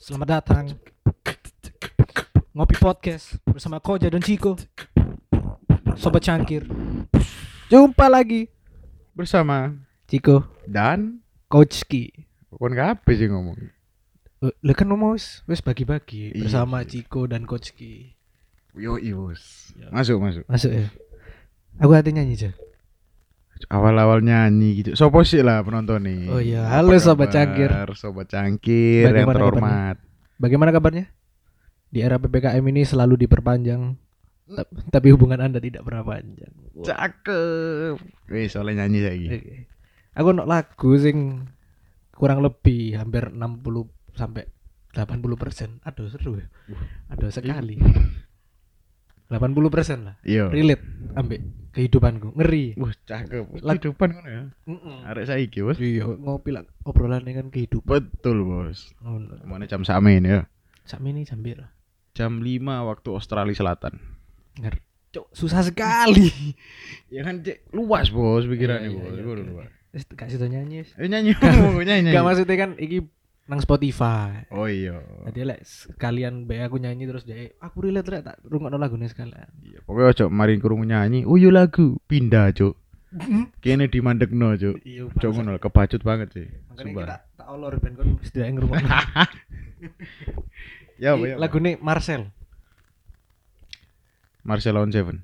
Selamat datang Ngopi Podcast bersama Koja dan Ciko Sobat Cangkir Jumpa lagi bersama Ciko dan Coach Ki kon apa sih ngomong Lu kan ngomong wis, wis bagi-bagi Iya. bersama Ciko dan Coach Ki yo ibus masuk masuk Masuk ya Aku hati nyanyi aja awal awal nyanyi gitu sopo sih lah penonton nih Oh iya, Apa halo Sobat kabar, Cangkir. sobat cangkir yang Bagaimana terhormat Bagaimana kabarnya? Di era PPKM ini selalu diperpanjang ta- Tapi hubungan anda tidak pernah panjang Hmm. Wah. Eh, cakep wih soalnya nyanyi lagi Oke. Aku nok lagu sing kurang lebih hampir 60 sampai 80 Aduh seru ya. Aduh sekali. 80 lah. yo Relate ambek kehidupanku. Ngeri. wah cakep Lag- kehidupan kan ya arek saiki bos Iya, ngopi lah obrolan dengan kehidupan. betul bos Ngono. mana jam samin ya Sak ini sambil jam 5 waktu Australia Selatan nger. Cok, susah sekali. ya kan Cek, luas bos Iya, pikirannya iya, bos iya, Gua oke. luas. Wis gak sido nyanyi. wis. Eh, nyanyi ngomong, nyanyi Gak nyanyi maksudnya kan iki nang Spotify. oh iya Jadi lek sekalian be aku nyanyi terus dia "Eh, aku relate rek tak rungokno lagune sekalian. Iya, pokoknya ojo mari krungu nyanyi, uyu lagu, pindah cuk. Kene di mandekno cuk. Iya, Cuk ngono kebacut banget sih. Makanya kita Sumpah. tak olor ben kon setidaknya ngerumah. Ya, apa, ya. Lagu ini Marcel. Marcel on Seven.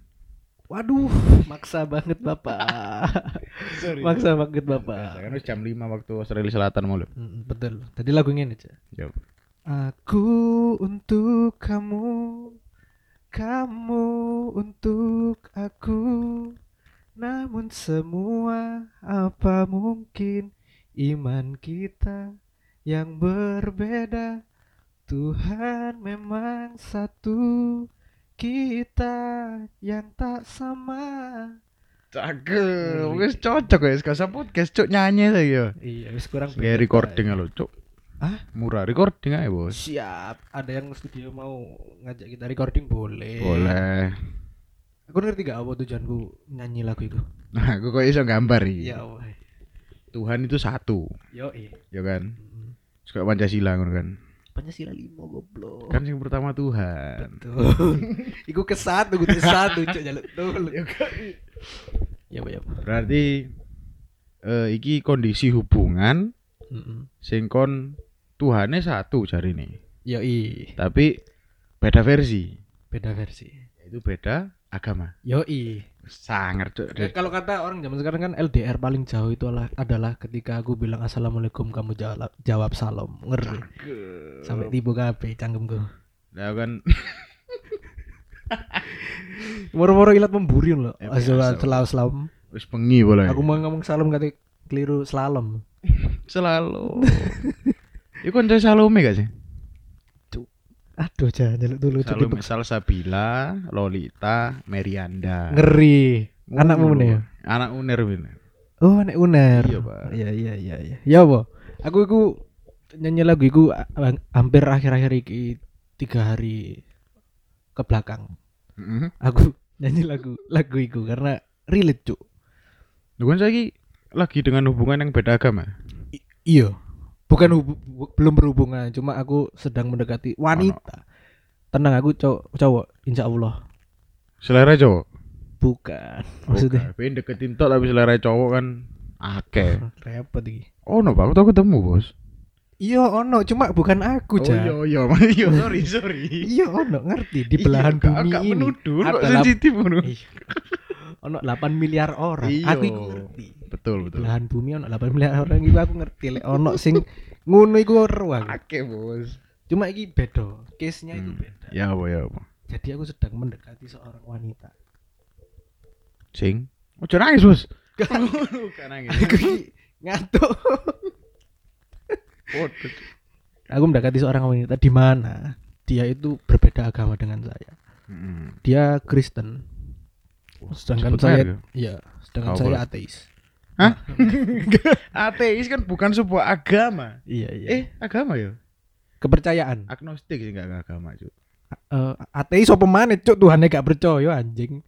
Waduh, maksa banget bapak. Sorry. maksa banget bapak. Kan wis jam 5 waktu Australia Selatan mau lho. Mm, betul. Tadi lagu ini aja. Jawab. Aku untuk kamu, kamu untuk aku. Namun semua apa mungkin iman kita yang berbeda. Tuhan memang satu, kita yang tak sama. Cakep. Wis cocok wis gak usah podcast cuk nyanyi lagi ya. Iya, wis kurang bener, Kayak recording lho cuk. Hah? Murah recording aja Pak. bos. Siap. Ada yang studio mau ngajak kita recording boleh. Boleh. Aku ngerti gak apa tujuanku nyanyi lagu itu? Nah, aku kok iso gambar iki. Ya wah. Tuhan itu satu, Yo iya. ya kan? Suka Pancasila ngono kan. Pancasila lima goblok. Kan yang pertama Tuhan. Tuh. Iku ke satu, gue ke satu, cok jaluk dulu. Ya Pak, ya. Pak. Berarti eh iki kondisi hubungan Mm-mm. sing kon Tuhane satu jari ini, Yo i. tapi beda versi. Beda versi. Itu beda agama. Yo i. Sangar cuk. Ya, kalau kata orang zaman sekarang kan LDR paling jauh itu adalah, adalah ketika aku bilang assalamualaikum kamu jawab jawab salam ngeri sampai tiba kabeh cangkemku Nah, kan Moro-moro ilat memburi loh. Eh, Asal biasa. selam selam. wis bengi bola. Aku mau ngomong salam kata keliru slalom. selalu. Iku konco Salome gak sih? Aduh jangan jaluk dulu jadi Salome Salsabila, Lolita, Merianda. ngeri. Anakmu Ngono. mana ya? Anak uner bener. Oh nek uner. Iya, Pak. Iya iya iya iya. Ya apa? Aku iku nyanyi lagu iku a- a- hampir akhir-akhir iki tiga hari ke belakang. Heeh. Aku nyanyi lagu lagu iku karena relate cuk. saiki lagi dengan hubungan yang beda agama. I- iya. Bukan hubu- bu- belum berhubungan, cuma aku sedang mendekati wanita. Tenang aku cowok, cowok insya Allah. Selera cowok. Bukan. Maksudnya Oke, deketin tok tapi selera cowok kan akeh. repot iki. Oh no, aku tau ketemu bos. Iya ono, cuma bukan aku, Jan. Oh iya iya, iya sorry sorry. Iya ono, ngerti di belahan Iya, Kak, bumi Kak ini. menuduh ada kok lap- sensitif ngono. Iya. Ono 8 miliar orang. Iya. Aku iku ngerti. Betul betul. Belahan bumi ono 8 miliar orang iku aku ngerti lek ono sing ngono iku ruang. Akeh bos. Cuma iki beda. Case-nya itu beda. Ya apa ya apa. Jadi aku sedang mendekati seorang wanita. Sing. Ojo nangis bos. Bukan Aku nangis. iki ngantuk. Waduh. aku mendekati seorang wanita di mana dia itu berbeda agama dengan saya. Mm. Dia Kristen. Sedangkan cepet saya banget ya. iya, sedangkan Kau saya boleh. ateis. Ateis kan bukan sebuah agama. Iya, iya. Eh agama ya? kepercayaan. Agnostik sih nggak agama cuy. Eh, ateis apa mana cuk Tuhannya gak percaya anjing.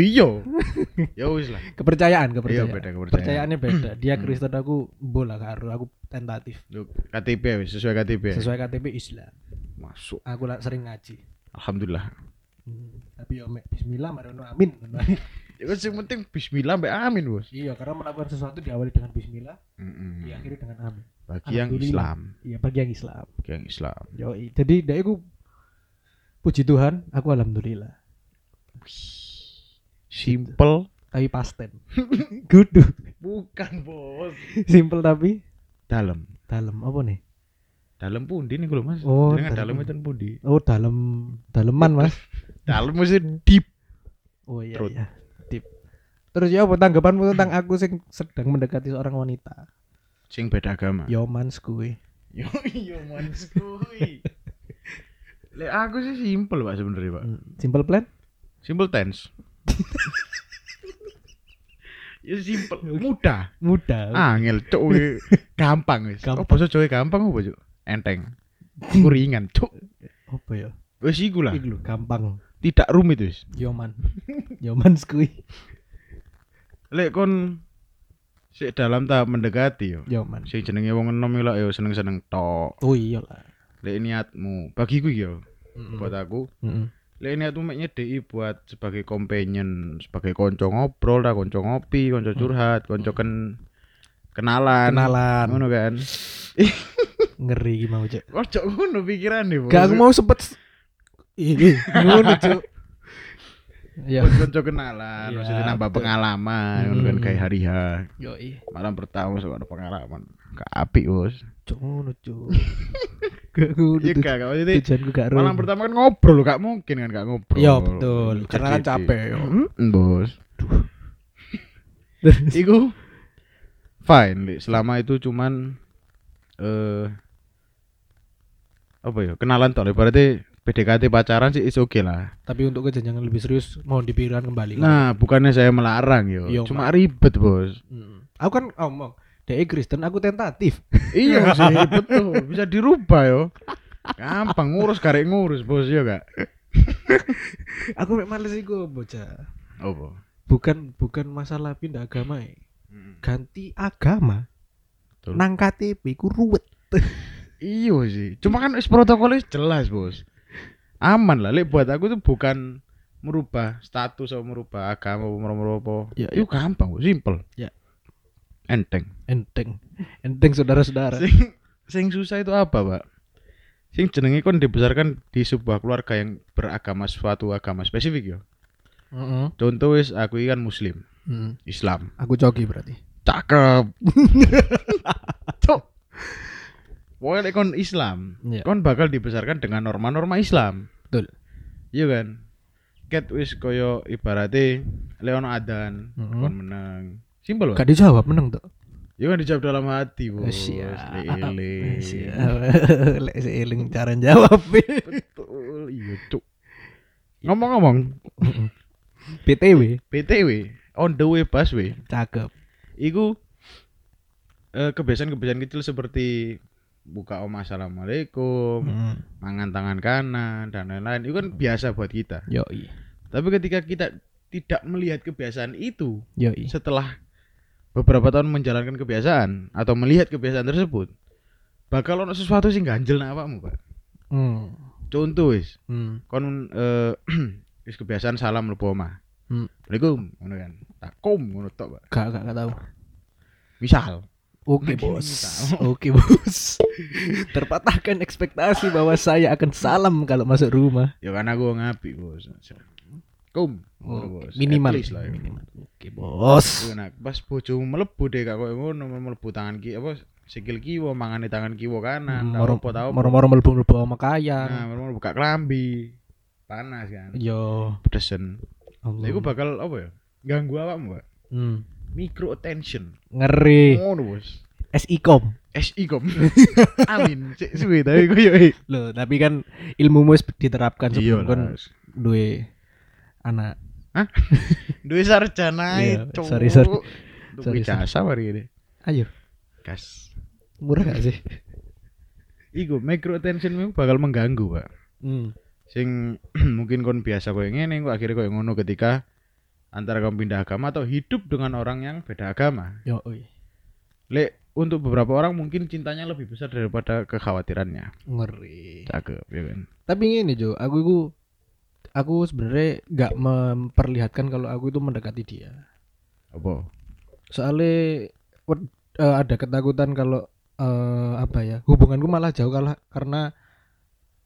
iya. ya wis lah. kepercayaan kepercayaan Iya, beda kepercayaan. percayaannya beda dia Kristen aku bola karo aku tentatif Lu KTP ya wis, sesuai KTP. ya? sesuai KTP Islam Masuk. aku lah sering ngaji Alhamdulillah. Hmm. tapi yo mek bismillah mari ono amin Ya kan sing penting bismillah mbak amin, Bos. iya karena melakukan sesuatu diawali dengan bismillah Mm-mm. diakhiri dengan amin Bagi yang Alhamdulillah. Islam, iya bagi yang Islam bagi yang Islam. yo jadi dia aku puji Tuhan aku alhamdulillah Gitu. Simple tapi pasten gudu bukan, Bos. simple tapi Dalam. dalam apa nih Dalam pundi nih kalau Mas. Oh, Dengan dalam. dalam itu pundi. oh dalam daleman mas Dalam mesti deep. Oh iya Truth. iya. Tip. Terus ya apa tanggapanmu tentang aku sing sedang mendekati seorang wanita? Sing beda agama. Yo mans kuwi. Yo yo manis kuwi. Le aku sih simple Pak sebenarnya, Pak. Hmm, Simple plan? Simple tense. ya simple, mudah. Mudah. Angel Ah, cuk kuwi. gampang wis. Gampang. Oh, basa Jawa gampang apa, Cuk? Enteng. Kuringan, cuk. Apa ya? Wis iku lah. Iki lho gampang. Tidak rumit wis. Yo man. Yo mans kuwi. Lek kon sik dalam tahap mendekati yo. Yo man. Sing jenenge wong enom iki lho yo seneng-seneng tok. Oh iya lah. Lek niatmu, bagiku iki yo Hmm. buat aku Heeh. Lah ini aku make DI buat sebagai companion, sebagai konco ngobrol, lah konco ngopi, konco curhat, konco ken kenalan. Hmm. Kenalan. Ngono kan. Ngeri iki mau cek. Ojo ngono pikiran nih, Gak aku mau sempet s- Ih, ih, ngono cuk. Ya. konco kenalan, Iya, maksudnya nambah betul. pengalaman, ngono kan Hmm. kayak hari H. Yo ih. Malam pertama sama ada pengalaman. Gak apik, Bos. Cuk ngono cuk. Gak ngono. Iya tu- gak, gak maksudnya Tujuanku gak Malam rono. pertama kan ngobrol, gak mungkin kan gak ngobrol. Iya, betul. Karena kan Jadi- gitu. capek, yo. Mm, Bos. Iku fine, Li. selama itu cuman eh apa ya? Kenalan toh, berarti PDKT pacaran sih is oke lah. Tapi untuk ke jenjang yang lebih serius mohon dipikirkan kembali. Nah, bukannya saya melarang yo, Yo, cuma ribet, Bos. Mm. Aku kan ngomong, DE Kristen aku tentatif. iya sih, betul. Bisa dirubah yo. Gampang ngurus karek ngurus, Bos, yo gak? Aku mek males iku bocah. Opo? Bukan bukan masalah pindah agama. eh. Ganti agama. Betul. Nang KTP ku ruwet. Iya sih. Cuma kan wis protokolnya jelas, Bos. Aman lah. Lek buat aku tuh bukan merubah status atau merubah agama apa merubah apa. Ya, itu gampang, Bos. Simple. Ya. Enteng. Enteng. Enteng saudara-saudara. Sing sing susah itu apa, Pak? Sing jenenge kon dibesarkan di sebuah keluarga yang beragama suatu agama spesifik ya. Heeh. Contoh wis aku ini kan muslim, Mm. Islam. Aku joki berarti. Cakep. Cok. Pokoknya lek kon Islam, Iya. kon bakal dibesarkan dengan norma-norma Islam. Betul. Iya kan? Cat wis koyo ibarate Leon Adan Mhm. kon menang. Simpel kan? Gak dijawab meneng tuh. Iya kan dijawab dalam hati, Bos. Eh, Siap. Eh. Lele. Siap. Lek seiling cara jawab. Betul. Iya, Cuk. Ngomong-ngomong, BTW, PTW on the way busway cakep. iku eh, kebiasaan-kebiasaan kecil seperti buka om assalamualaikum, Mm. mangan tangan kanan dan lain-lain. Itu kan biasa buat kita. Yoi. Tapi ketika kita tidak melihat kebiasaan itu, Yoi. setelah beberapa tahun menjalankan kebiasaan atau melihat kebiasaan tersebut bakal ono sesuatu sing ganjel nang awakmu, Pak. Mm. Contoh wis, Mm. kon eh, wis kebiasaan salam mlebu omah. Hmm. Assalamualaikum ngono kan. Takum ngono tok, Pak. Gak gak gak tahu. Misal, Oke Lagi bos, minta. oke bos. Terpatahkan ekspektasi bahwa saya akan salam kalau masuk rumah. ya kan aku wong apik, Bos. Kum, ngono, Oh, Bos. minimal. At least lah. ya. minimal. Oke bos. Iya, Nah, pas bojomu mlebu deh kak koyo ngono mlebu tangan ki apa sikil kiwa mangane tangan kiwa kanan, tau apa tau. apa. Moro-moro melbu melbu sama kaya. Nah, moro-moro buka klambi. Panas kan. Iya. Yo, Pedesen. Allah. Lha iku bakal apa ya? Ganggu awakmu, Pak. Hmm. Micro attention. Ngeri. Ngono, Bos. SIKOM. SI kom. Amin. Cek suwe tapi ku yo. eh. Loh, tapi kan ilmumu wis diterapkan sebelum kon Kan duwe anak. duwe sarjana eh, Iya, itu. sorry, sorry. Sorry, Sorry, jasa mari ini. Ayo, Kas. murah gak sih? Iku micro attention iku bakal mengganggu, Pak. Hmm. Sing mungkin kon biasa koyo ngene kok akhirnya koyo ngono ketika antara kamu pindah agama atau hidup dengan orang yang beda agama. Yo, oi. Lek untuk beberapa orang mungkin cintanya lebih besar daripada kekhawatirannya. ngeri. Cakep, ya kan? Tapi ini Jo, aku itu aku sebenarnya nggak memperlihatkan kalau aku itu mendekati dia. Apa? Soalnya wed- eh, ada ketakutan kalau eh, apa ya hubunganku malah jauh kalah karena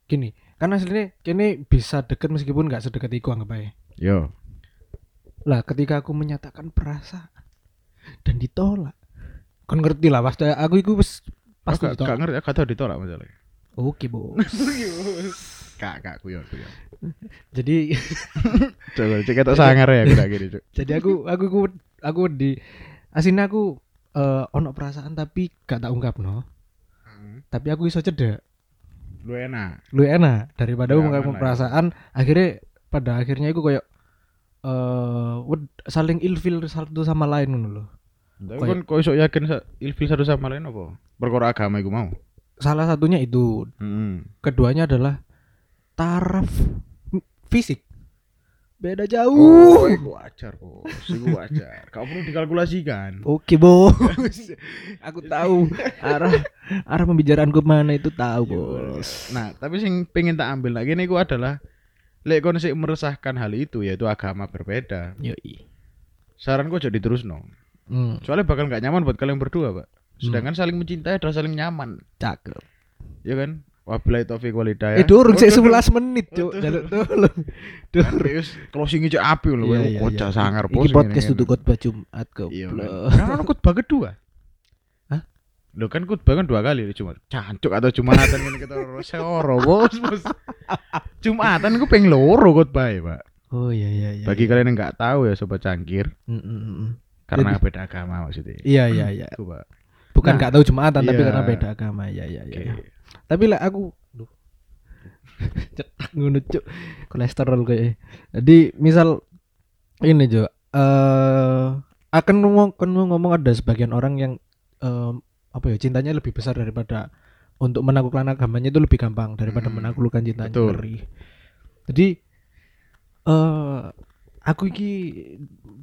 gini karena aslinya kini bisa deket meskipun nggak sedekat iku anggap aja. Yo. Lah ketika aku menyatakan perasaan dan ditolak, kan ngerti lah pasti aku itu wes- pasti Aku gak ditolak. ngerti, gak tau ditolak masalahnya. Oke bu. Kak, kak, kuyon, kuyon. Jadi Coba cek itu sangar ya, aku gak gini, Cuk. jadi aku aku aku, aku di asin aku eh, ono perasaan tapi gak tak ungkap no tapi aku iso cedek Hmm. Lu enak. lu enak daripada aku Ya, mengungkap aman lah, perasaan akhirnya pada akhirnya aku kayak eh wed- saling ilfil satu sama lain ngono lho. Tapi Kayak- kan kok iso yakin sa- ilfil satu sama lain apa? Perkara agama iku mau. Salah satunya itu, Heeh. keduanya adalah taraf fisik. Beda Oh, jauh. iku wajar, Bos. Iku wajar. Gak perlu dikalkulasikan. Oke, Bo. aku tahu arah arah pembicaraanku mana itu tahu, Bos. Iya, Nah, tapi sing pengen tak ambil lagi niku adalah lek kon sik meresahkan hal itu yaitu agama berbeda. Yoi. Saranku jadi terus no. Hmm, Soalnya bakal nggak nyaman buat kalian berdua, Pak. Sedangkan saling mencintai adalah saling nyaman, cakep. ya kan? Wabillahi taufiq walhidayah. Eh, durung sik Oh, 11 menit, Cuk. Jaluk tolong. Dur. kan, Reus, closing aja api lho, Iya, iya, kocak iya. sangar Iki ini, podcast ini. untuk khotbah Jumat kok. Iya. Kan ono khotbah kedua. Hah? Lo kan khotbah kan dua kali cuma cancuk atau jumatan ngene kita loro seoro bos bos. Jumatan ku peng loro khotbah ya, Pak. Oh iya iya iya. Bagi kalian yang nggak tahu ya sobat cangkir Mm, mm, mm, mm. karena beda agama maksudnya. Iya iya iya. Itu, Pak. Bukan Nah, nggak tahu Jumatan tapi iya. karena beda agama. Iya iya iya. Oke. Tapi lah aku Duh. cetak ngono cuk. Kolesterol kayak. Jadi misal ini Jo, eh akan ngomong kan ngomong ada sebagian orang yang eh, apa ya cintanya lebih besar daripada untuk menaklukkan agamanya itu lebih gampang daripada Hmm, menaklukkan cintanya betul. Ngeri. Jadi eh aku iki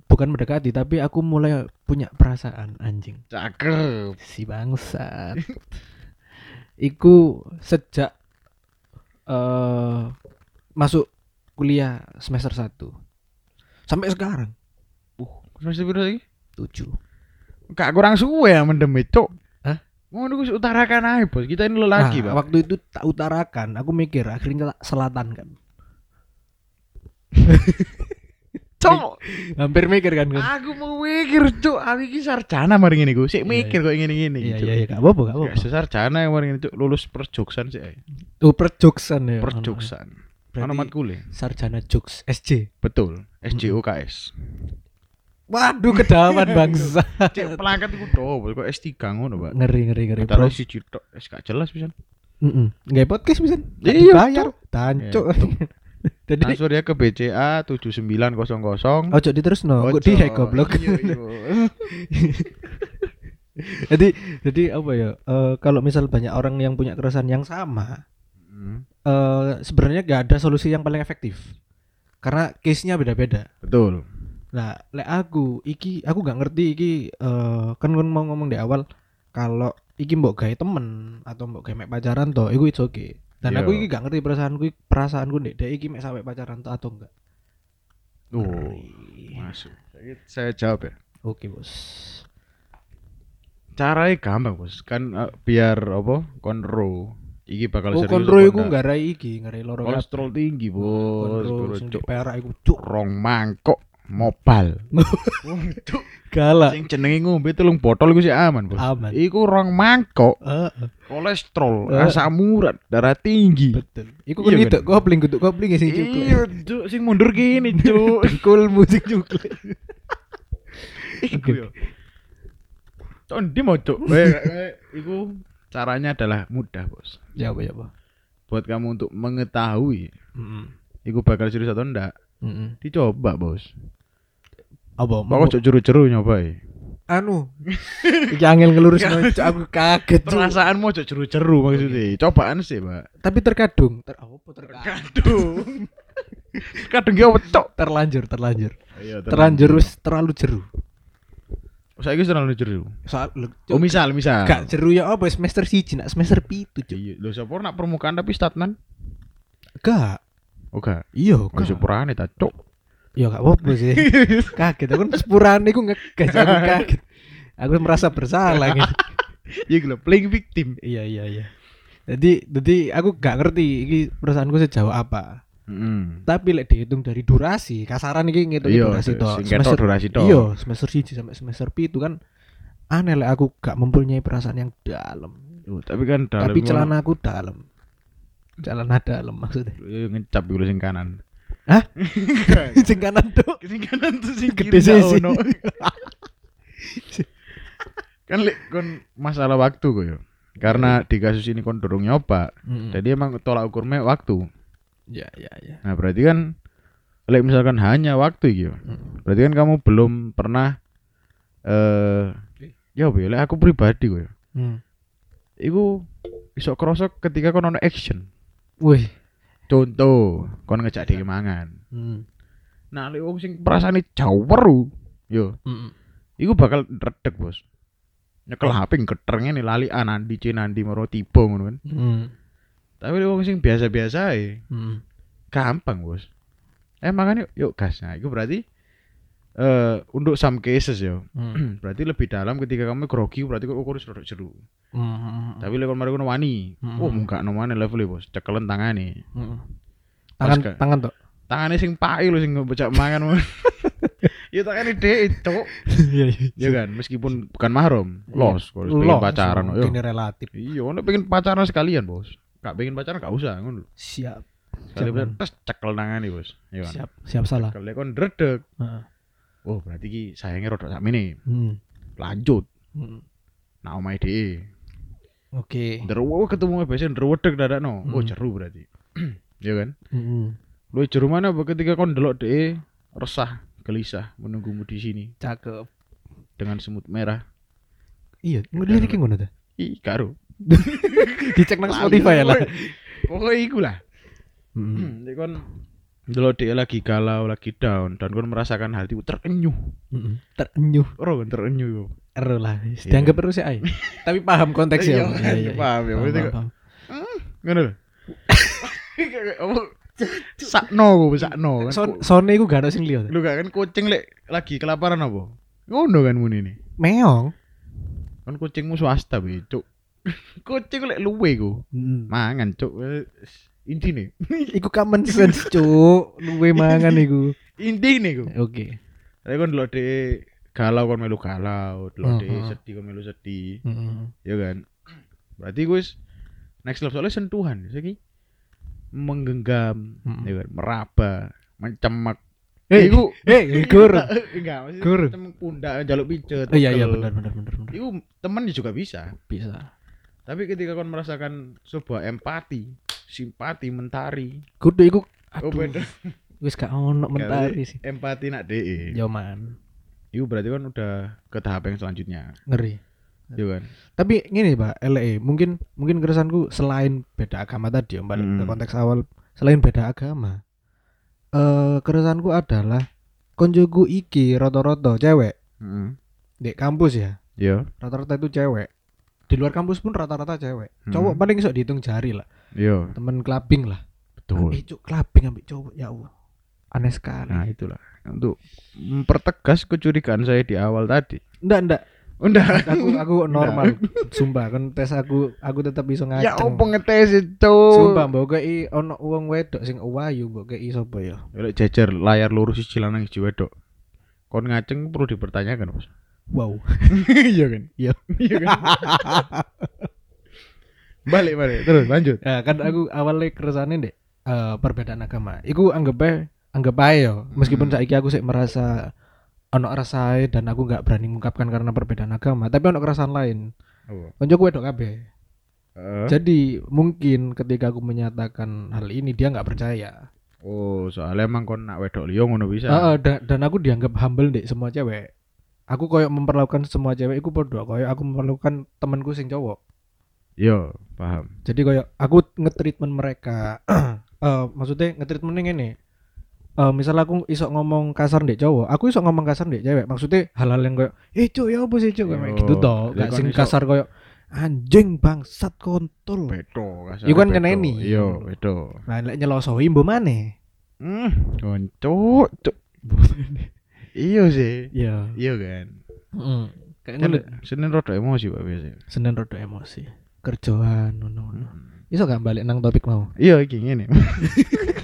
bukan mendekati tapi aku mulai punya perasaan anjing Cakep. si bangsat iku sejak eh masuk kuliah semester 1 sampai sekarang Masih biru lagi? 7 Kak kurang suwe ya mendem itu. Hah? Ah, Ngono ku utarakan aja, Bos. Kita ini lelaki, Pak. Nah, waktu itu tak utarakan aku mikir akhirnya tak selatan kan Cok. hampir mikir kan Gun? Aku mau mikir, Cuk. Aku iki sarjana mari ngene iku. Iya, Sik mikir kok ngene-ngene. iya Cuk. iya iya gak apa-apa gak Gak apa-apa sesarjana yang kemarin itu lulus perjoksan sih, eh. oh perjoksan ya perjoksan. Ono Berarti matkule. sarjana joks SJ Betul, SJOKS. waduh kedawan bangsa Cek pelangkat iku do, kok S3 ngono, Pak. ngeri ngeri ngeri Iya, bro Padahal siji tok, S gak jelas pisan. Mm Nggak podcast bisa Iya, dibayar tancuk jadi Transfer ya ke BCA 7900. Hmm? Ojo diterus no, Oh, kok di hack goblok. Iya, iya. jadi jadi apa ya? eh, kalau misal banyak orang yang punya keresahan yang sama, Hmm, eh sebenarnya gak ada solusi yang paling efektif. Karena case-nya beda-beda. Betul. Nah, lek aku iki aku gak ngerti iki eh, kan kon mau ngomong di awal kalau iki mbok gawe temen atau mbok gawe mek pacaran toh, iku it's okay. Dan aku Iya. iki gak ngerti perasaanku perasaanku ndek dek iki mek sampe pacaran toh atau enggak. Oh, masuk. Saya jawab ya. Oke, Bos. Caranya gampang, Bos. Kan eh, biar apa? Konro. Iki bakal Oh, serius konro apa Oh, iku ndak? ngarai iki, ngarai loro kabeh. Oh, kolesterol tinggi, Bos. Konro Bro, sing Cuk. di perak iku cuk rong mangkok mopal. galak. Sing jenenge ngombe telung botol iku sih aman, Bos. Aman. Iku rong mangkok, Heeh, Iya, kolesterol, Eh. asam urat, darah tinggi. betul. Iku kan Iya, itu kan? kopling kudu kopling ya sing cukup. Iya, Cuk, sing mundur gini, Cuk. Dengkul musik cukup. Iku yo. Cuk, endi mau, Cuk? Eh, eh, Iku caranya adalah mudah, Bos. Ya apa ya apa. Buat kamu untuk mengetahui Heeh. iku bakal serius atau enggak, Heeh. dicoba, Bos. Apa? mau- Pokok jeru-jeru e? nyobai. anu. Iki angel Iya. ngelurus aku kaget. Cuk. Perasaan mau jeru-jeru maksudnya. Cobaan sih, Pak. Tapi terkadung ter apa terkadung Kadung. Kadung ki apa, Cuk? terlanjur terlanjur. Iya, terlanjur wis terlalu jeru. Saiki wis terlalu jeru. Soal lho, Oh, Cuk, misal, misal. gak jeru ya apa semester 1 nak semester 7 Cuk. Iya, lho sapa nak permukaan tapi statman? Gak. Oke. Iya, Kok gak. Oh, sepurane ta, cuk. Ya gak apa-apa sih. kaget aku pas purane aku ngegas aku kaget. Aku merasa bersalah gitu. Iya, lho, playing victim. Iya iya iya. Jadi jadi aku gak ngerti iki perasaanku sejauh apa. Heeh. Tapi lek dihitung dari durasi, kasaran iki ngitung Iya, durasi sing to. ketok durasi tok. Iya, semester 1 sampai semester 7 kan aneh lek aku gak mempunyai perasaan yang dalam. Yo, tapi kan Tapi dalam- celana aku dalam. Celana dalam maksudnya. Yo, Eh, ngecap dulu sing kanan. Hah? Sing kanan tuh. Sing kanan tuh sing Gede kiri gak sih. ono. kan lek kon masalah waktu kok yo. Karena di kasus ini kon dorong nyoba. Mm. Jadi emang tolak ukurnya waktu. Ya ya ya. Nah, berarti kan lek misalkan hanya waktu iki yo. Mm. Berarti kan kamu belum pernah eh ya apa ya, lek aku pribadi kok yo. Hmm. Iku iso kerosok ketika kon ono action. Wih. Contoh, kon ngejak dhewe mangan. Hmm. Nah, lek wong sing perasaane jauh weru, yo Mm-mm. iku bakal redek, Bos. Nyekel HP geter ngene lali anandi cenandi moro tiba ngono kan. Hmm. Tapi lek wong sing biasa-biasa ae, Hmm. gampang bos eh makanya yuk gas nah itu berarti eh untuk some cases ya Hmm. berarti lebih dalam ketika kamu grogi berarti kok kurus rodok jeruk Hmm. tapi lek mari kono wani Hmm. oh munggah no mana level bos cekelen tangane Mm. Pas Tangan gak? tangan tuh. tangane sing pai lho sing becak mangan ya tangane dhek itu Iya iya. ya kan meskipun bukan mahram Iya. ya. los kalau pengen Loh, pacaran so, yo gini relatif. iya ono pengen pacaran sekalian bos gak pengen pacaran gak usah ngono Siap. sekali Siap, pacaran Bang. tes cekel tangane bos ya kan Siap, siap salah. kalau kon dredeg Heeh. Oh berarti ki sayangnya rodok sak mene. Hmm. Lanjut. Hmm. Nah omahe dhewe. Oke. Nderu oh, ketemu biasa nderu wedeg dadakno. Hmm. Oh jeru berarti. ya kan? Hmm. Lu jeru mana apa ketika kon delok dhewe resah, gelisah menunggumu di sini Cakep. dengan semut merah. Iya, ngelirik iki ngono ta. Ih, karo. Dicek nang Spotify ya lah. Pokoke iku lah. Hmm. Nek kon delok dhewe lagi galau, lagi down dan kon merasakan hatimu terenyuh. Hmm. Terenyuh Ora kon terenyuh yo. ero lah. wis. Dianggap ero sih ae. Tapi paham konteksnya. Om. Iya, iya, iya. Iya. Paham ya. Berarti kok paham. ngono lho. Apa- Sakno, sakno. paham. kan. Son- Sone iku gak ono sing liya. ta? Lu gak kan kucing lek lagi kelaparan apa? Ngono kan muni ini. Meong. Kan kucingmu swasta be, cuk. kucing lek luwe ku. Mangan, cuk. Wes, Intine. Iku common sense, Cuk. Luwe mangan iku. Intine ku. Oke. Lek kon delok dhek galau kon melu galau, delok dhek Mhm. sedih kon melu sedih, Hmm. ya kan? Berarti ku wis next level soalnya sentuhan saiki menggenggam, Mhm. ya kan, meraba, mencemek. Eh, iku Eh, gur. enggak maksudnya Gur. mencemek pundak jaluk pijet. Oh, iya iya betul. benar benar benar benar. Iku temen juga bisa. Bisa. Tapi ketika kon merasakan sebuah empati, simpati, mentari. Kudu iku Oh, beda. aduh. Wis gak ono mentari sih. Empati nak DE. Joman. Itu berarti kan udah ke tahap yang selanjutnya. Ngeri. Iya kan? Tapi gini Pak, LE mungkin mungkin keresanku selain beda agama tadi, Om, balik ke Hmm. konteks awal, selain beda agama. Eh keresanku adalah konjoku iki rata-rata cewek Heeh. di kampus ya. Iya. Rata-rata itu cewek. Di luar kampus pun rata-rata cewek. Hmm. Cowok paling iso dihitung jari lah. Iya. Temen clubbing lah. Betul. Eh, cuk, clubbing ambek cowok ya Allah. Aneh sekali. Nah, itulah. Untuk mempertegas kecurigaan saya di awal tadi. Oh, Ndak, ndak. Udah. Aku aku normal. Sumpah kan tes aku aku tetap iso ngaceng. Ya opo ngetes itu. Sumpah mbok kei ono wong wedok sing uwayu mbok kei sapa ya? Lek jejer layar lurus siji lanang siji wedok. Kon ngaceng perlu dipertanyakan, Bos. Wow. Iya kan? Iya. Iya kan? balik balik terus lanjut. Ya kan aku awalnya keresane Dek eh, perbedaan agama. Iku anggap ae anggap ae yo. Meskipun Hmm. saiki aku sik merasa ono rasae dan aku nggak berani mengungkapkan karena perbedaan agama, tapi ono keresahan lain. Oh. Konjoku wedok kabeh. Eh? Jadi mungkin ketika aku menyatakan hal ini dia nggak percaya. oh, soalnya emang kon nak wedok liya ngono bisa. Eh, eh, da- dan aku dianggap humble Dek semua cewek. Aku koyo memperlakukan semua cewek iku padha koyo aku memperlakukan temanku sing cowok. Yo, Iya, paham. jadi kayak aku ngetreatment mereka Eh maksudnya ngetreatmentnya ini eh, misal aku isok ngomong kasar ndek cowok, aku isok ngomong kasar ndek cewek. Maksudnya hal-hal yang koyo eh cuk ya opo sih cuk Kayak Yo, gitu toh. lek Gak kon sing isok- kasar koyo anjing bangsat kontol. Bedo kasar. Iku kan bedo. ngeneni. Iya, bedo. Nah, lek nyelosoi mbok maneh. Hmm, goncok, cuk. Iya sih. Iya. Iya kan. Heeh. Mm. Kayak Kan ngono. Senin rada emosi Pak biasanya. Hmm. Senin rada emosi. Kerjaan ngono-ngono. Iso gak balik nang topik mau? Iya iki ngene.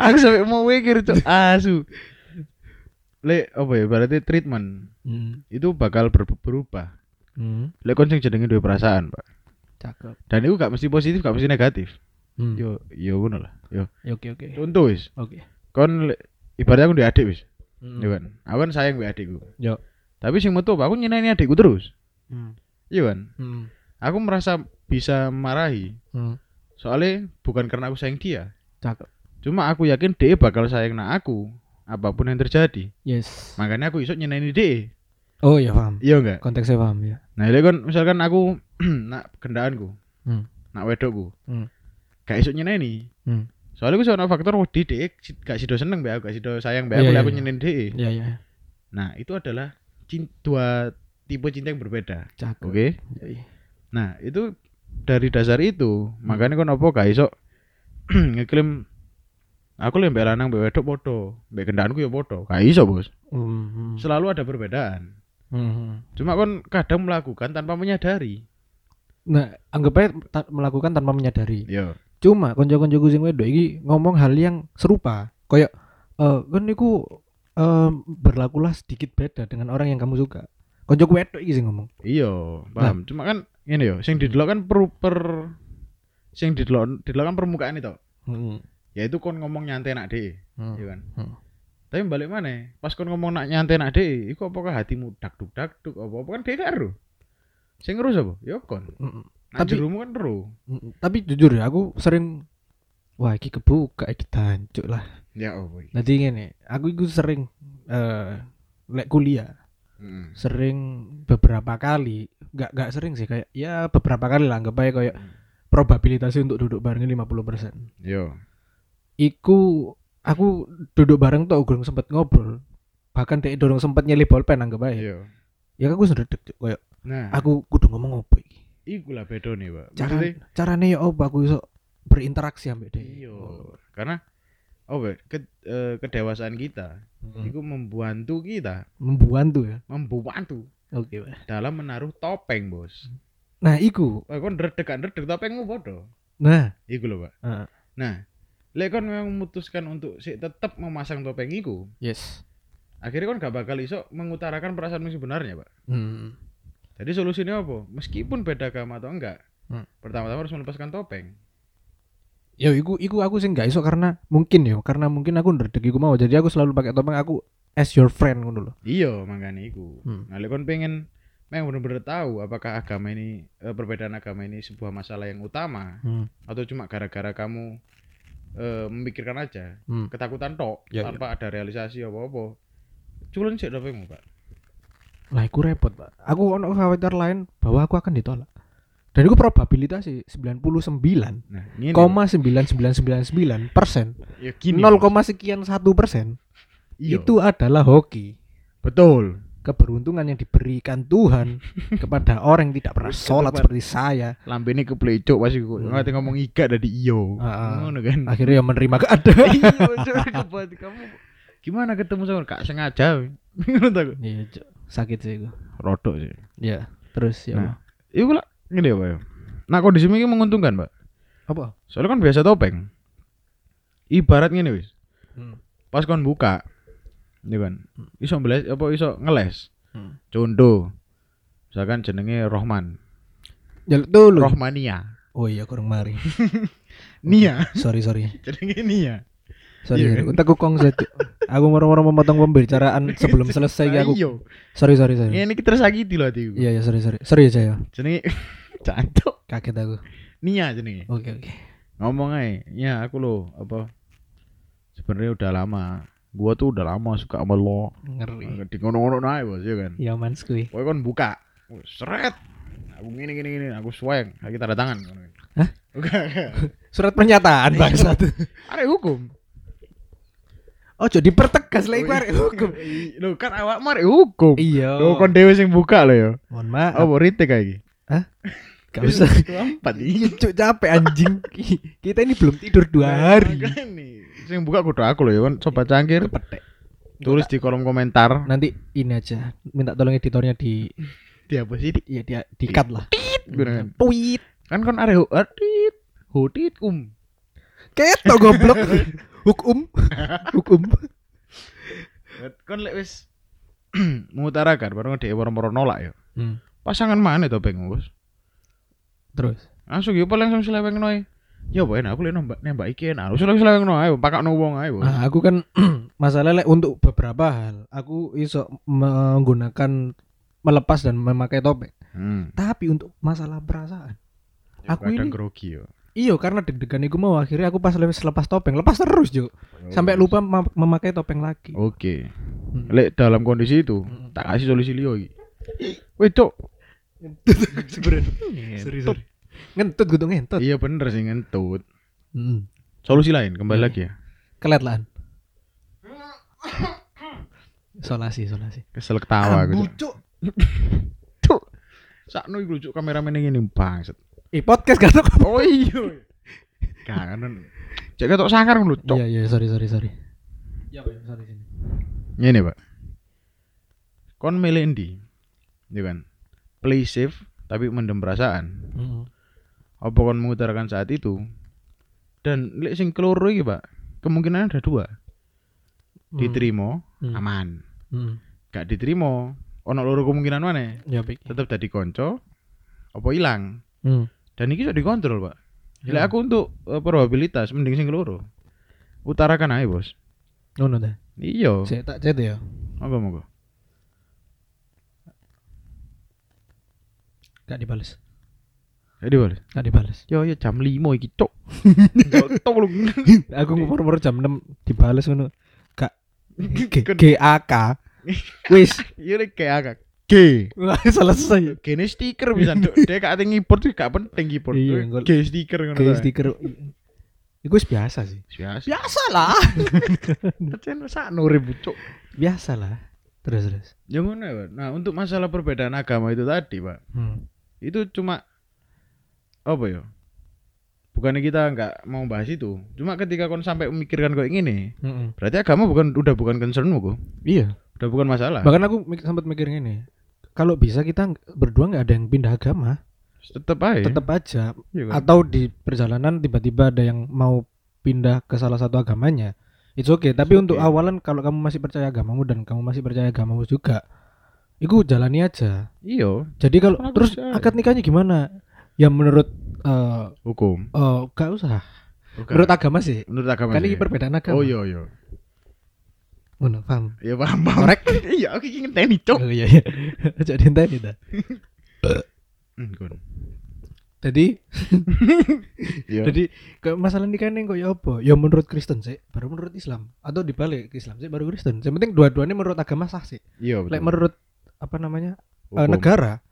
Aku sampe mau mikir cuk asu. Lek apa ya berarti treatment Hmm. itu bakal ber- berubah. Hmm. Lek kon sing jenenge duwe perasaan, Pak. Cakep. Dan itu gak mesti positif, gak mesti negatif. Hmm. Yo yo ngono lah. Yo. Ya, Oke oke. Contoh wis, Oke. kon lek- ibaratnya aku duwe adik wis, Hmm. yo kan. Aku kan sayang duwe adikku. Yo. Tapi sing metu apa? aku nyeneni adikku terus. Hmm. Iya kan? Hmm. Aku merasa bisa marahi Hmm. soalnya bukan karena aku sayang dia. Cakep. Cuma aku yakin dia bakal sayang na aku apapun yang terjadi. Yes. Makanya aku isuk nyeneni dia. Oh ya paham. Iya enggak? Konteksnya paham ya. Nah, lek kon misalkan aku nak kendaanku, Hmm. nak wedokku. Hmm. Gak isuk nyeneni. Hmm. Soalnya aku sono faktor wedi dhek si- gak sido seneng mbak aku, gak sido sayang mbak Iya, aku, lek iya, aku iya. nyeneni dhek. Iya iya. Nah, itu adalah cin- dua tipe cinta yang berbeda. Cakep. Ya, Oke. Yoi. Nah, itu dari dasar itu, makanya kon apa gak iso ngeklaim aku lek mbak lanang mbak wedok podo, mbak kendaanku ya podo. Gak iso, Bos. Hmm. Selalu ada perbedaan. Hmm. Cuma kon kadang melakukan tanpa menyadari. Nah, anggap aja ta- melakukan tanpa menyadari. Yo. Cuma konco-konco sing wedok iki ngomong hal yang serupa. Kayak eh kan niku eh, berlakulah sedikit beda dengan orang yang kamu suka. Konco wedok iki sing ngomong. Iya, paham. Cuma kan ini yo, sing didelok kan per, per sing didelok didelok kan permukaan itu. Heeh. Yaitu kon ngomong nyantai nak dhek, iya kan. Hmm. Tapi balik mana? Pas kon ngomong nak nyantai nak dhek, iku apakah hatimu dak duk dak duk apa apa kan dhek gak ero. Sing ngerus apa? Yo kon. Nak Tapi- jerumu kan ero. Tapi jujur ya, aku sering wah iki kebuka iki tancuk lah. Ya opo iki. Jadi ngene, aku iku sering eh lek kuliah Heeh. sering beberapa kali nggak nggak sering sih kayak ya beberapa kali lah anggap aja kayak probabilitasnya untuk duduk barengnya 50% Yo. iku aku duduk bareng tuh gurung sempet ngobrol bahkan dia dorong sempet nyelip bolpen anggap aja Yo. ya aku sudah deg kayak Nah, aku kudu ngomong apa iki iku lah bedone, Pak. cara Maksudnya- carane ya apa aku iso berinteraksi ambek dia Iya. Karena oh, ke, eh, kedewasaan kita Hmm. itu membantu kita, membantu ya membantu oke dalam menaruh topeng bos nah iku Wah, kon redek kan redek topengmu bodoh nah iku lho pak Heeh. nah lek kon memang memutuskan untuk si tetap memasang topeng iku yes akhirnya kon gak bakal iso mengutarakan perasaanmu sebenarnya pak hmm. jadi solusinya apa meskipun beda agama atau enggak Hmm. pertama-tama harus melepaskan topeng Ya iku iku aku sih nggak iso karena mungkin yo karena mungkin aku ndredeg iku mau jadi aku selalu pakai topeng aku as your friend ngono lho. iya makanya iku Hmm. nah lek kon pengen memang bener-bener tahu apakah agama ini eh, perbedaan agama ini sebuah masalah yang utama Hmm. atau cuma gara-gara kamu eh, memikirkan aja Hmm. ketakutan tok Ya, tanpa ada realisasi apa-apa culun sih dopengmu pak Lah iku repot, Pak. Aku ono khawatir lain bahwa aku akan ditolak. Dan itu probabilitas sih 99,999 nah ini persen, ya gini 0, sekian satu persen Iya, itu adalah hoki betul keberuntungan yang diberikan Tuhan kepada orang yang tidak pernah sholat seperti saya lambe ini keplecok pasti kok Hmm. ngerti ngomong iga dari iyo Ah, ah. ngono kan akhirnya yang menerima keadaan iya bener, kebuat kamu gimana ketemu sama kak sengaja ngono tak Iya, Cuk. sakit sih itu rodok sih ya terus ya Nah. iku lah ngene ya pak ya nah kondisi ini menguntungkan pak apa soalnya kan biasa topeng ibarat ngene wis Hmm. pas kon buka ya kan iso beles apa iso ngeles Hmm. contoh misalkan jenenge Rohman jaluk dulu Rohmania oh iya kurang mari Nia sorry sorry jenenge Nia sorry Iya, sorry Entar aku kong saja aku moro-moro memotong pembicaraan sebelum selesai ya aku Ayo sorry sorry sorry ini kita iya. tersakiti loh hatiku Iya ya sorry sorry sorry aja ya jenenge cantok kaget aku. Nia jenenge Oke oke. ngomong ae ya aku loh apa sebenarnya udah lama gua tuh udah lama suka sama lo Ngeri. di ngono-ngono ae bos ya kan Ya mans kui. Pokoknya kon buka seret aku gini gini gini aku sweng lagi tanda tangan Hah? Buka. Iya. Surat pernyataan bangsat. Arek hukum. Ojo Oh, dipertegas lah iku Iya. arek hukum. Lho kan awakmu arek hukum. Iya. Lho kon dhewe sing buka lho ya. Mohon maaf. Apa ritik kae iki? Gak usah. Lampat iki. Iya, Cuk capek anjing. Kita ini belum tidur dua Iya. hari. Makane. Nah, kan Sing buka kudu aku lho ya kon sobat cangkir. Kepetek. Tulis di kolom komentar. Nanti ini aja minta tolong editornya di Dia apa sih? ya dia di cut lah. Gunakan. Tweet. Kan kon arek hukum. Hudit um. Ketok goblok. Hukum. Hukum. Kon lek wis mengutarakan baru dhek moro-moro nolak ya. Hmm. Pasangan mana to pengen Bos? Terus. Langsung yo langsung seleweng noy. Ya boy, aku lek nembak nembak iki enak. Langsung seleweng noy, pakak no wong ae. Bos. Nah, aku kan masalah like, untuk beberapa hal aku iso menggunakan melepas dan memakai topeng. Hmm. Tapi untuk masalah perasaan Aku Kadang ini- grogi ya. yo. Iya karena deg-degan iku mau akhirnya aku pas lepas, lepas topeng lepas terus Jo sampai lupa mem- memakai topeng lagi. Oke. Hmm. Lek dalam kondisi itu, Mm-mm. tak kasih solusi liyo iki. Wedok. Sorry, sorry. Ngentut gitu ngentut. Iya bener sih ngentut. Mm. Solusi lain kembali Iya. lagi ya. Kelet lah. Solasi, solasi. Kesel ketawa Ambu, gitu. Cuk. Cuk. Sakno iku cuk kameramen ini ngene bangset. Eh podcast gak tau. Oh iya. Kangen. Cek ketok sangkar ngono cuk. Iya iya sorry sorry sorry. Iya Pak, sorry sini. Ngene, Pak. Kon milih ndi? Ya kan. Play safe tapi mendem perasaan. Mm. Apa kon mengutarakan saat itu? Dan lek sing keloro iki, Pak. Kemungkinan ada dua. Diterima, Mm. aman. Mm. Gak diterima, ono loro kemungkinan mana? Ya baik. Tetap jadi konco apa hilang. Hmm. Dan ini bisa dikontrol, Pak. Ya. Lek aku untuk eh, probabilitas mending sing keloro. Utarakan aja, Bos. Ngono dah. Iya. Saya tak chat ya. Monggo monggo. Gak dibales. Jadi, Bos. Gak dibales. Yo yo jam 5 iki, Cuk. Yo tolong. Aku ngumur-umur jam 6 dibales ngono. Gak G- Ken- GAK. Wis, Iya nih kayak agak G. Wah, selesai. Gini stiker bisa Dok. Dia gak ada ngibor tuh gak penting ngibor. Iya, enggak. Tuh, G stiker ngono. Kayak stiker. stiker. Iku wis biasa sih. Biasa. Biasa lah. Pancen sakno ribu cuk. Biasa lah. Terus terus. Ya ngono ya, Pak. Nah, untuk masalah perbedaan agama itu tadi, Pak. Hmm. Itu cuma apa ya? Bukannya kita nggak mau bahas itu. Cuma ketika kon sampai memikirkan kayak gini, Mm-mm. berarti agama bukan udah bukan concernmu kok. Iya. Udah bukan masalah. Bahkan aku mik- sempat mikir ini. Kalau bisa kita ng- berdua nggak ada yang pindah agama, Tetep aja. tetap aja. Iya kan? Atau di perjalanan tiba-tiba ada yang mau pindah ke salah satu agamanya, it's okay. Tapi It's untuk okay. awalan kalau kamu masih percaya agamamu dan kamu masih percaya agamamu juga, itu jalani aja. Iya, Jadi kalau Aku terus percaya. akad nikahnya gimana? Ya menurut eh hukum. eh, nggak usah. Bukan. Menurut agama sih. menurut agama. Kan ini sih. perbedaan agama. Oh iya iya. Ngono, paham. Ya paham paham. Korek. iya, aku ingin teni cuk. Oh iya iya. Jadi enteni dah. Hmm, kon. Jadi Iya. Jadi ke masalah nikah nih kok ya apa? Ya menurut Kristen sih, baru menurut Islam atau dibalik ke Islam sih baru Kristen. Yang penting dua-duanya menurut agama sah sih. Iya betul. Lek menurut apa namanya eh, Hukum. negara,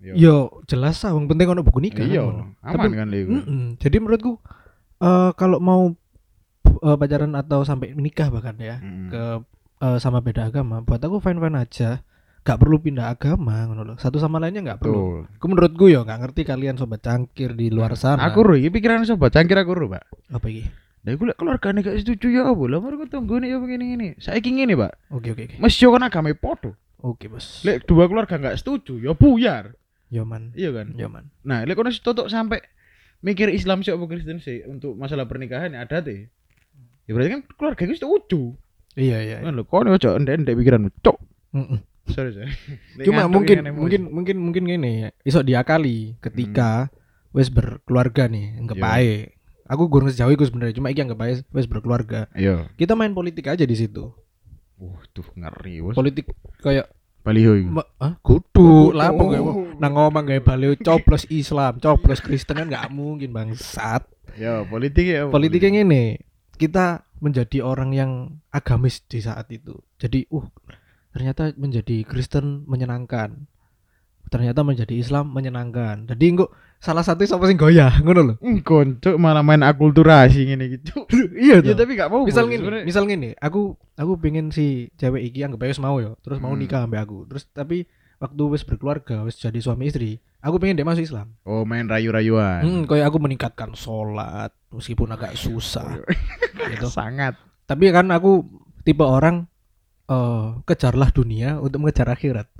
Iya. yo jelas sah. Yang penting ono buku nikah. Iya, ngono. aman Tapi- hmm, kan Leo. Mm-mm. Jadi menurutku eh, kalau mau eh, pacaran atau sampai nikah bahkan ya Mm. ke eh, sama beda agama, buat aku fine fine aja. Gak perlu pindah agama, ngono loh. Satu sama lainnya gak perlu. Tuh. Aku menurutku yo gak ngerti kalian sobat cangkir di luar sana. Nah, Aku ru, iki pikiran sobat cangkir aku ru, Pak. apa iki? Lah iku lek keluargane gak setuju ya apa? Lah mergo tanggone ya begini ngene. Saiki ngene, Pak. Oke oke oke. Mas yo kan agame padha. Oke bos. Lek dua keluarga gak setuju ya buyar. Yoman. Iya kan? Yoman. Nah, lek kono tutup sampai mikir Islam sih apa Kristen sih untuk masalah pernikahan ya ada teh. Ya berarti kan keluarga itu setuju. Iya iya. Kan lho kono aja ndek-ndek pikiran cok. Mm-mm. Sorry, sorry. Lek Cuma ngantuk mungkin ini emosi. ya, mungkin mungkin mungkin gini ya. Isok diakali ketika wes berkeluarga nih, anggap Hmm. Iya. baik. Aku gurung sejauh itu sebenarnya, cuma iki anggap baik wes berkeluarga. Iya. Kita main politik aja di situ. Waduh, ngeri wes. Politik kayak Baliho iku. ma- ah, kudu Hmm. Kudu. Oh. lapo kayak nang ngomong kayak baliho coplos Islam, coplos Kristen kan nggak mungkin bangsat. Ya, politik ya. apa? politiknya ini kita menjadi orang yang agamis di saat itu jadi uh ternyata menjadi Kristen menyenangkan ternyata menjadi Islam menyenangkan. Jadi engko salah satu sapa sing goyah ngono lho. Koncok malah main akulturasi ngene iki. Cuk. Iya Ya toh. tapi gak mau. Misal Bos, gini, sebenarnya. misal gini, aku aku pengen si cewek iki anggap aja wis mau ya, terus mau Hmm. nikah ambek aku. Terus tapi waktu wis berkeluarga, wis jadi suami istri, aku pengen dia masuk Islam. Oh, main rayu-rayuan. Hmm, kayak aku meningkatkan sholat meskipun agak susah gitu. Sangat. Tapi kan aku tipe orang eh kejarlah dunia untuk mengejar akhirat.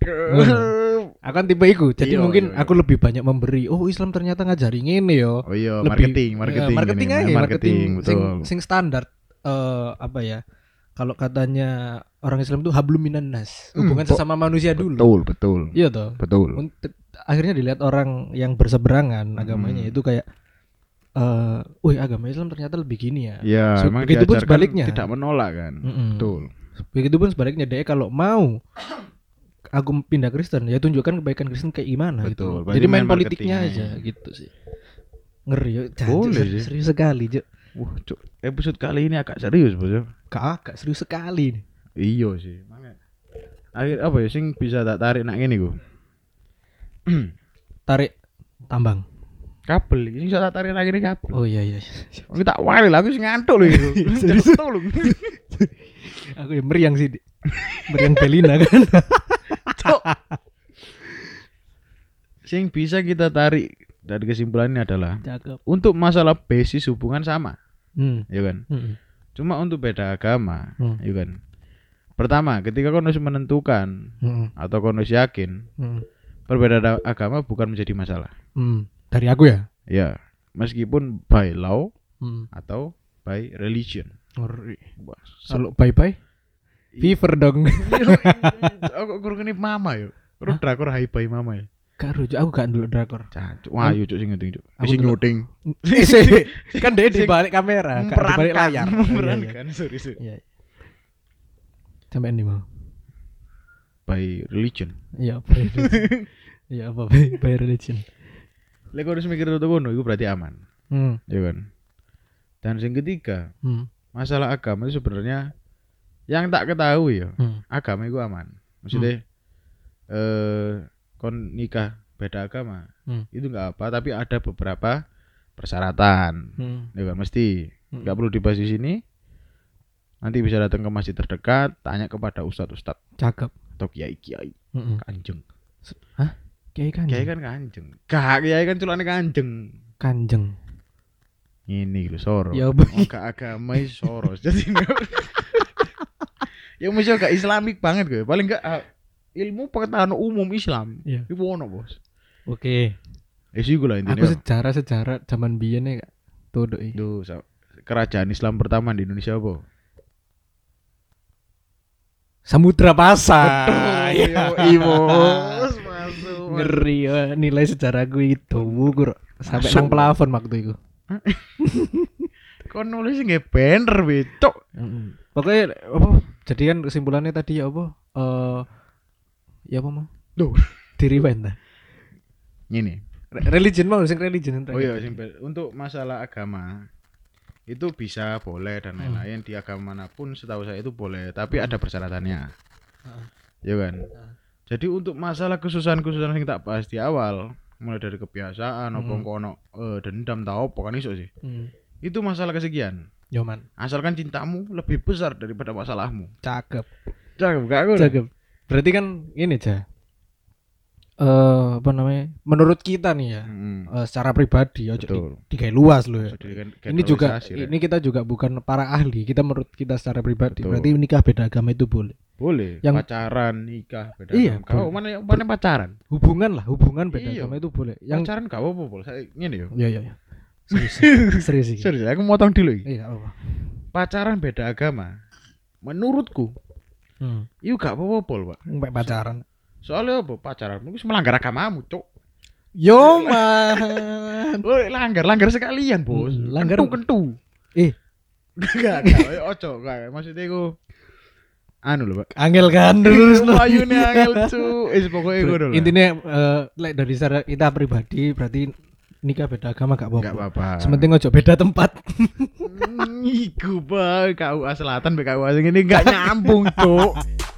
Cakep. Akan tipe iku. Jadi Iya, mungkin iya, iya. aku lebih banyak memberi. Oh, Islam ternyata ngajari ngene yo. Oh iya, Lebih- marketing, marketing. Ya, marketing gini, aja, main marketing, marketing, sing, betul. sing standar eh apa ya? Kalau katanya orang Islam itu habluminan nas, Hmm, hubungan po- sesama manusia dulu. Betul, betul. Iya toh. Betul. Un- te- Akhirnya dilihat orang yang berseberangan agamanya Hmm. itu kayak eh wih agama Islam ternyata lebih gini ya. Iya, So, emang begitu pun diajarkan sebaliknya. tidak menolak kan. Mm-mm. Betul. Begitupun sebaliknya dia kalau mau aku pindah Kristen ya tunjukkan kebaikan Kristen kayak gimana Betul, gitu. berarti Jadi main, main politiknya aja marketingnya. gitu sih. Ngeri yuk, Jancuk, Boleh ser- sih. serius sekali, Cuk. Wah, cuk, episode kali ini agak serius, Bos. ya. Kakak serius sekali nih. Iya sih. Makanya. Akhir apa ya sing bisa tak tarik nak ngene ku? Tarik tambang. Kabel iki sing bisa tak tarik nak ngene kabel. Oh iya iya. Aku tak wali lah, aku sing ngantuk lho iku. Serius? Ngantuk lho. Aku ya meriang sih. Dik. meriang Belina kan. Sing bisa kita tarik dari kesimpulannya adalah Cakep. untuk masalah basis hubungan sama, Hmm. ya kan? Hmm. Cuma untuk beda agama, Hmm. ya kan? Pertama, ketika kau harus menentukan Hmm. atau kau harus yakin Hmm. perbedaan agama bukan menjadi masalah. Hmm. Dari aku ya. Ya, meskipun by law Hmm. atau by religion. Ngeri. Wah, Kalau bye-bye. Fever dong. aku kurang Iya, ini mama ya? yo. Kurang drakor hai by mama ya. Gak rujuk aku gak dulu drakor. Cacuk. Wah, yuk cuk sing ngeting cuk. Aku Sing dulu- nyuting. Sih, kan dia di Sing- balik kamera, gak di balik layar. Iya, iya. Memerankan, sorry sorry. Iya. Sampai ini mau. By religion. Iya, by religion. Iya, apa by, by religion. Lek kau harus mikir tuh ngono itu berarti aman, Hmm. ya kan? Dan sing ketiga, Hmm. masalah agama itu sebenarnya yang tak ketahui ya, Hmm. agama itu aman. Maksudnya eh kon nikah beda agama, Hmm. itu nggak apa, tapi ada beberapa persyaratan. Hmm. Ya kan mesti Hmm. nggak perlu dibahas di sini. Nanti bisa datang ke masjid terdekat, tanya kepada ustadz-ustadz Cakep. atau kiai-kiai Heeh. kanjeng. Hmm. Kiai kan. Kiai kan kanjeng. Gak kiai kan culane kanjeng. Kanjeng. Ini lho soro. Ya apa? Oh, gak agama ini soros. Jadi ya mesti gak islamik banget gue. Paling gak ah, ilmu pengetahuan umum Islam. Iya. Iku ono, Bos. Oke. Eh sih gue lah Aku intinya. sejarah-sejarah zaman biyen ya, Kak. Tuh doi. Duh, sa- kerajaan Islam pertama di Indonesia apa? Samudra Pasar. Iya, Ah. Ibu, masuk. Ngeri ya, nilai sejarah gue itu gugur sampai Masuk. nang plafon waktu itu. Kon nulis nggak bener betok. Pokoknya apa? Jadi kan kesimpulannya tadi ya apa? Eh ya apa mau? Duh. Di rewind dah. Ini. Re- Religion mau sing religion. Oh iya, sing be- untuk masalah agama itu bisa boleh dan Hmm. lain-lain di agama manapun setahu saya itu boleh, tapi ada persyaratannya. Heeh. Ya kan? Hmm. Jadi untuk masalah kesusahan-kesusahan yang tak bahas di awal, mulai dari kebiasaan, apa Hmm. engko ono eh, dendam tau apa kan iso sih. Hmm. Itu masalah kesekian. Yo man, Asalkan cintamu lebih besar daripada masalahmu. cakep. Cakep gak aku? Cakep. Berarti kan ini aja. Eh apa namanya? Menurut kita nih ya, Hmm, eh, secara pribadi ojo di, betul. digawe luas loh ya. Bisa di- ya. Ini juga generalisasi, Rek. ini kita juga bukan para ahli, kita menurut kita secara pribadi. Betul. Berarti nikah beda agama itu boleh. boleh yang- pacaran, nikah, beda Iya, agama. Kau boleh. mana mana pacaran? Hubungan lah, hubungan beda Iya. agama itu boleh. Yang Pacaran gak apa-apa, Bol. Saya ngene yo. Iya iya iya. Serius. Serius iki. Serius, aku motong dulu iki. Iya, gak apa-apa. Pacaran beda agama. Menurutku, Hmm. itu gak apa-apa, Bol, Pak. Mbak pacaran. Soalnya apa? Pacaran itu melanggar agamamu, Cok. Yo man. Oh, langgar, langgar sekalian, Bos. Kan- Hmm, langgar- kentu. Eh. Enggak, enggak, Eh, ojo, enggak. Maksudnya iku anu lho, Pak. Angel kan terus Iku Ayune angel, Cuk. Wis pokoke ngono lho. Intinya eh, lek dari secara kita pribadi berarti nikah beda agama gak enggak apa-apa. apa-apa. Sementing ojo beda tempat. Hmm, Iku, Pak. KUA Selatan, BKUA sing ini enggak nyambung, Cuk.